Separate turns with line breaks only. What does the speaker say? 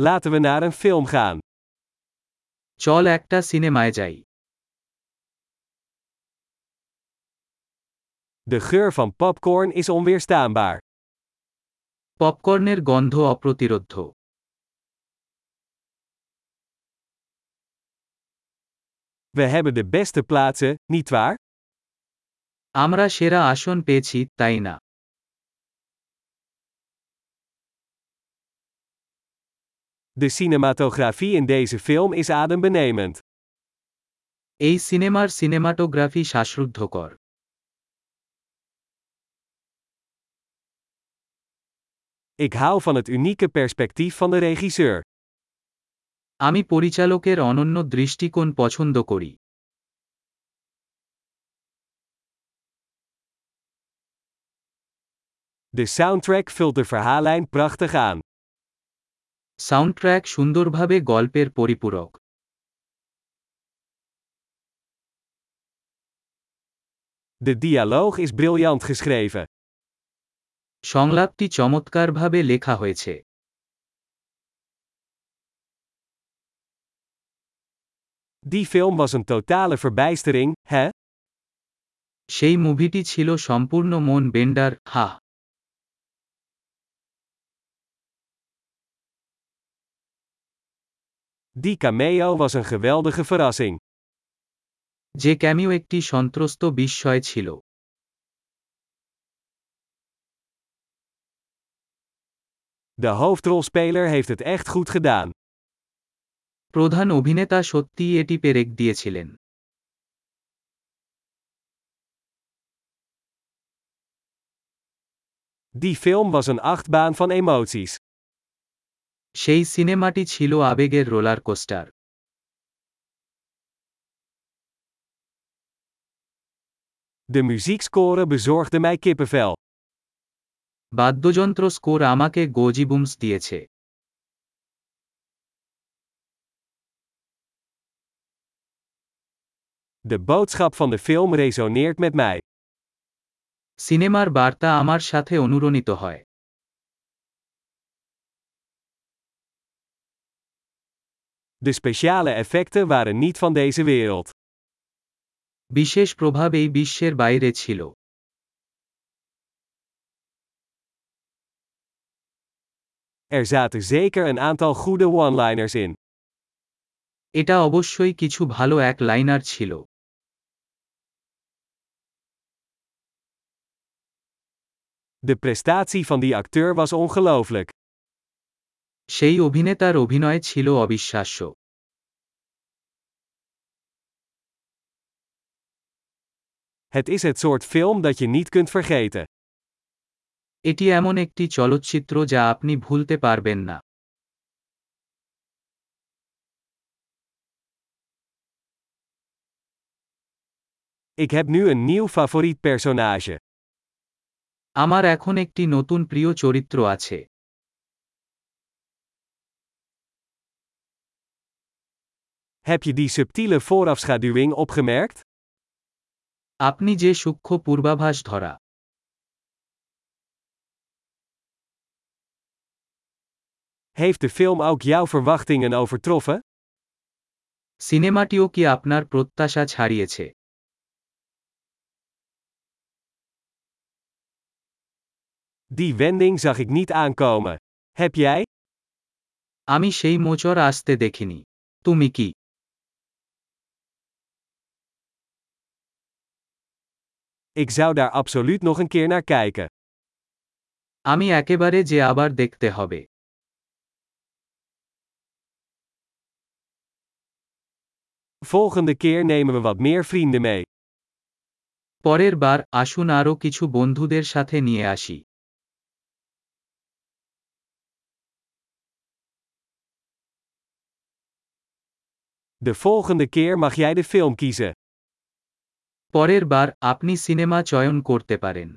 Laten we naar een film gaan.
চল একটা সিনেমায় যাই
De geur van popcorn is onweerstaanbaar.
পপকর্নের গন্ধ অপ্রতিরোধ্য
We hebben de beste plaatsen, nietwaar?
আমরা সেরা আসন পেয়েছি তাই না
De cinematografie in deze film is adembenemend.
এই সিনেমার সিনেমাটোগ্রাফি শ্বাসরুদ্ধকর
Ik hou van het unieke perspectief van de regisseur.
আমি পরিচালকের অনন্য দৃষ্টিকোণ পছন্দ করি
De soundtrack vult de verhaallijn prachtig aan.
Soundtrack সুন্দরভাবে গল্পের পরিপূরক
De dialoog is briljant geschreven.
সংলাপটি চমৎকারভাবে লেখা হয়েছে
Die film was een totale verbijstering, hè?
সেই মুভিটি ছিল সম্পূর্ণ মন বেন্ডার হা
Die cameo was een geweldige verrassing.
যে ক্যামিও একটি সন্ত্রস্ত বিস্ময় ছিল
De hoofdrolspeler heeft het echt goed gedaan.
প্রধান অভিনেতা সত্যিই এটি পেরেক দিয়েছিলেন
Die film was een achtbaan van emoties.
সেই সিনেমাটি ছিল আবেগের roller coaster
De muziekscore bezorgde mij kippenvel.
বাদ্যযন্ত্র স্কোর আমাকে গোজিবুমস দিয়েছে
De boodschap van de film resoneert met mij.
সিনেমার বার্তা আমার সাথে অনুরণিত হয়
De speciale effecten waren niet van deze wereld.
বিশেষ প্রভাব এই বিশ্বের বাইরে ছিল
Er zaten zeker een aantal goede one-liners in.
এটা অবশ্যই কিছু ভালো এক লাইনার ছিল
De prestatie van die acteur was ongelooflijk.
সেই অভিনেতার অভিনয় ছিল অবিশ্বাস্য
Het is het soort film dat je niet kunt vergeten.
এটি এমন একটি চলচ্চিত্র যা আপনি ভুলতে পারবেন না
Ik heb nu een nieuw favoriet personage.
আমার এখন একটি নতুন প্রিয় চরিত্র আছে
Heb je die subtiele voorafschaduwing opgemerkt?
আপনি যে সূক্ষ্ম পূর্বাভাস ধরা
Heeft de film ook jouw verwachtingen overtroffen?
সিনেমাটিও কি আপনার প্রত্যাশা ছাড়িয়েছে
Die wending zag ik niet aankomen. Heb jij?
আমি সেই মোচর আসতে দেখিনি তুমি কি
Ik zou daar absoluut nog een keer naar kijken.
আমি একেবারে যে আবার দেখতে হবে
Volgende keer nemen we wat meer vrienden mee.
পরের বার আসুন আরও কিছু বন্ধুদের সাথে নিয়ে আসি
De volgende keer mag jij de film kiezen.
পরের বার আপনি সিনেমা চয়ন করতে পারেন